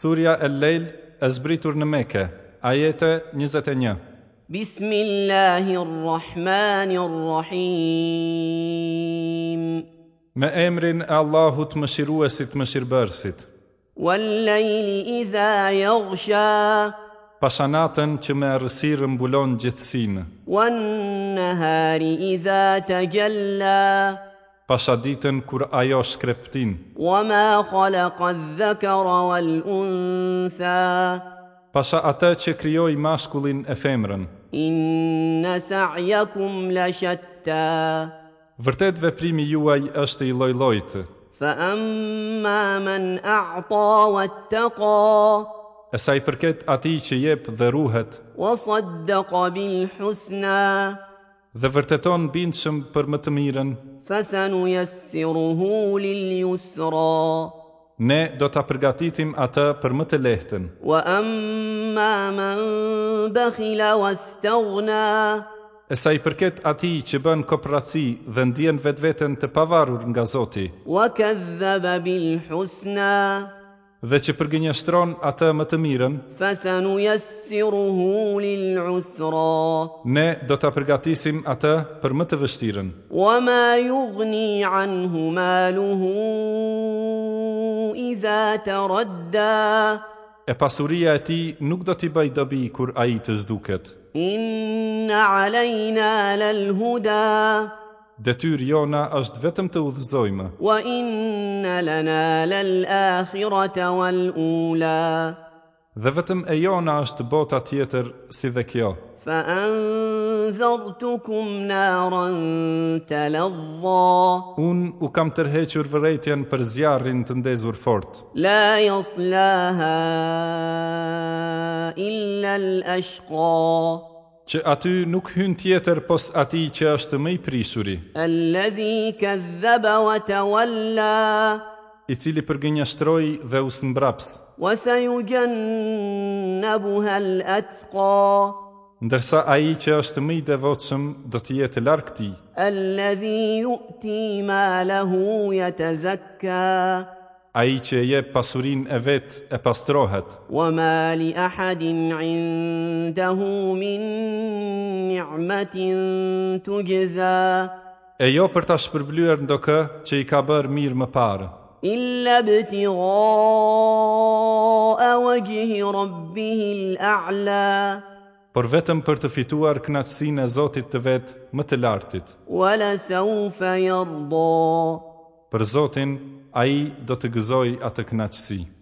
Surja e Lejl e zbritur në Mekë, ajete 21. بسم الله الرحمن الرحيم Me emrin e Allahut më shiruesit më shirëbërësit, والليل إذا يغشى pasha natën që me rësirë mbulon gjithësinë, والنهار إذا تجلى pasha ditën kur ajo shkreptin, وما خلق الذكر والأنثى pasha atë që kryoj mashkullin e femrën. إن سعيكم لشتى Vërtet veprimi juaj është i lojlojtë, فأما من أعطى واتقى e sa i përket ati që jep dhe ruhet, وصدق بالحسنى dhe vërteton bindshëm për më të mirën, فسنيسره لليسرى ne do të përgatitim atë për më të lehtën. واما من بخل واستغنى E sa i përket ati që bën kopratësi dhe ndjen vetë vetën të pavarur nga Zoti, وكذب بالحسنى dhe që përgënjeshtron atë më të mirën, فسنيسره للعسرى ne do të përgatisim atë për më të vështirën. وما يغني عنه ماله اذا تردى E pasuria e ti nuk do t'i bëj dobi kur a i të zduket. ان علينا للهدى Detyr jona është vetëm të udhëzojmë, وان لنا للاخره والاولى dhe vetëm e jona është bota tjetër si dhe kjo. فأنذرتكم نارا تلظى Unë u kam tërhequr vërejtjen për zjarrin të ndezur fort, لا يصلاها إلا الأشقى që aty nuk hyn tjetër pos ati që është më i prishuri, الذي كذب وتولى i cili përgënjeshtroi dhe u smbraps, وسيجنبها الأتقى ndërsa ai që është më i devotshëm do të jetë larg tij, الذي يؤتي ماله يتزكى ai që e jep pasurinë e vet e pastrohet, وما لأحد عنده من نعمة تجزى e jo për ta shpërblyer ndokë që i ka bërë mirë më parë, إلا ابتغاء وجه ربه الأعلى por vetëm për të fituar kënaqësinë e Zotit të vet më të lartit. ولسوف يرضى Për Zotin ai do të gëzoj atë kënaqësi.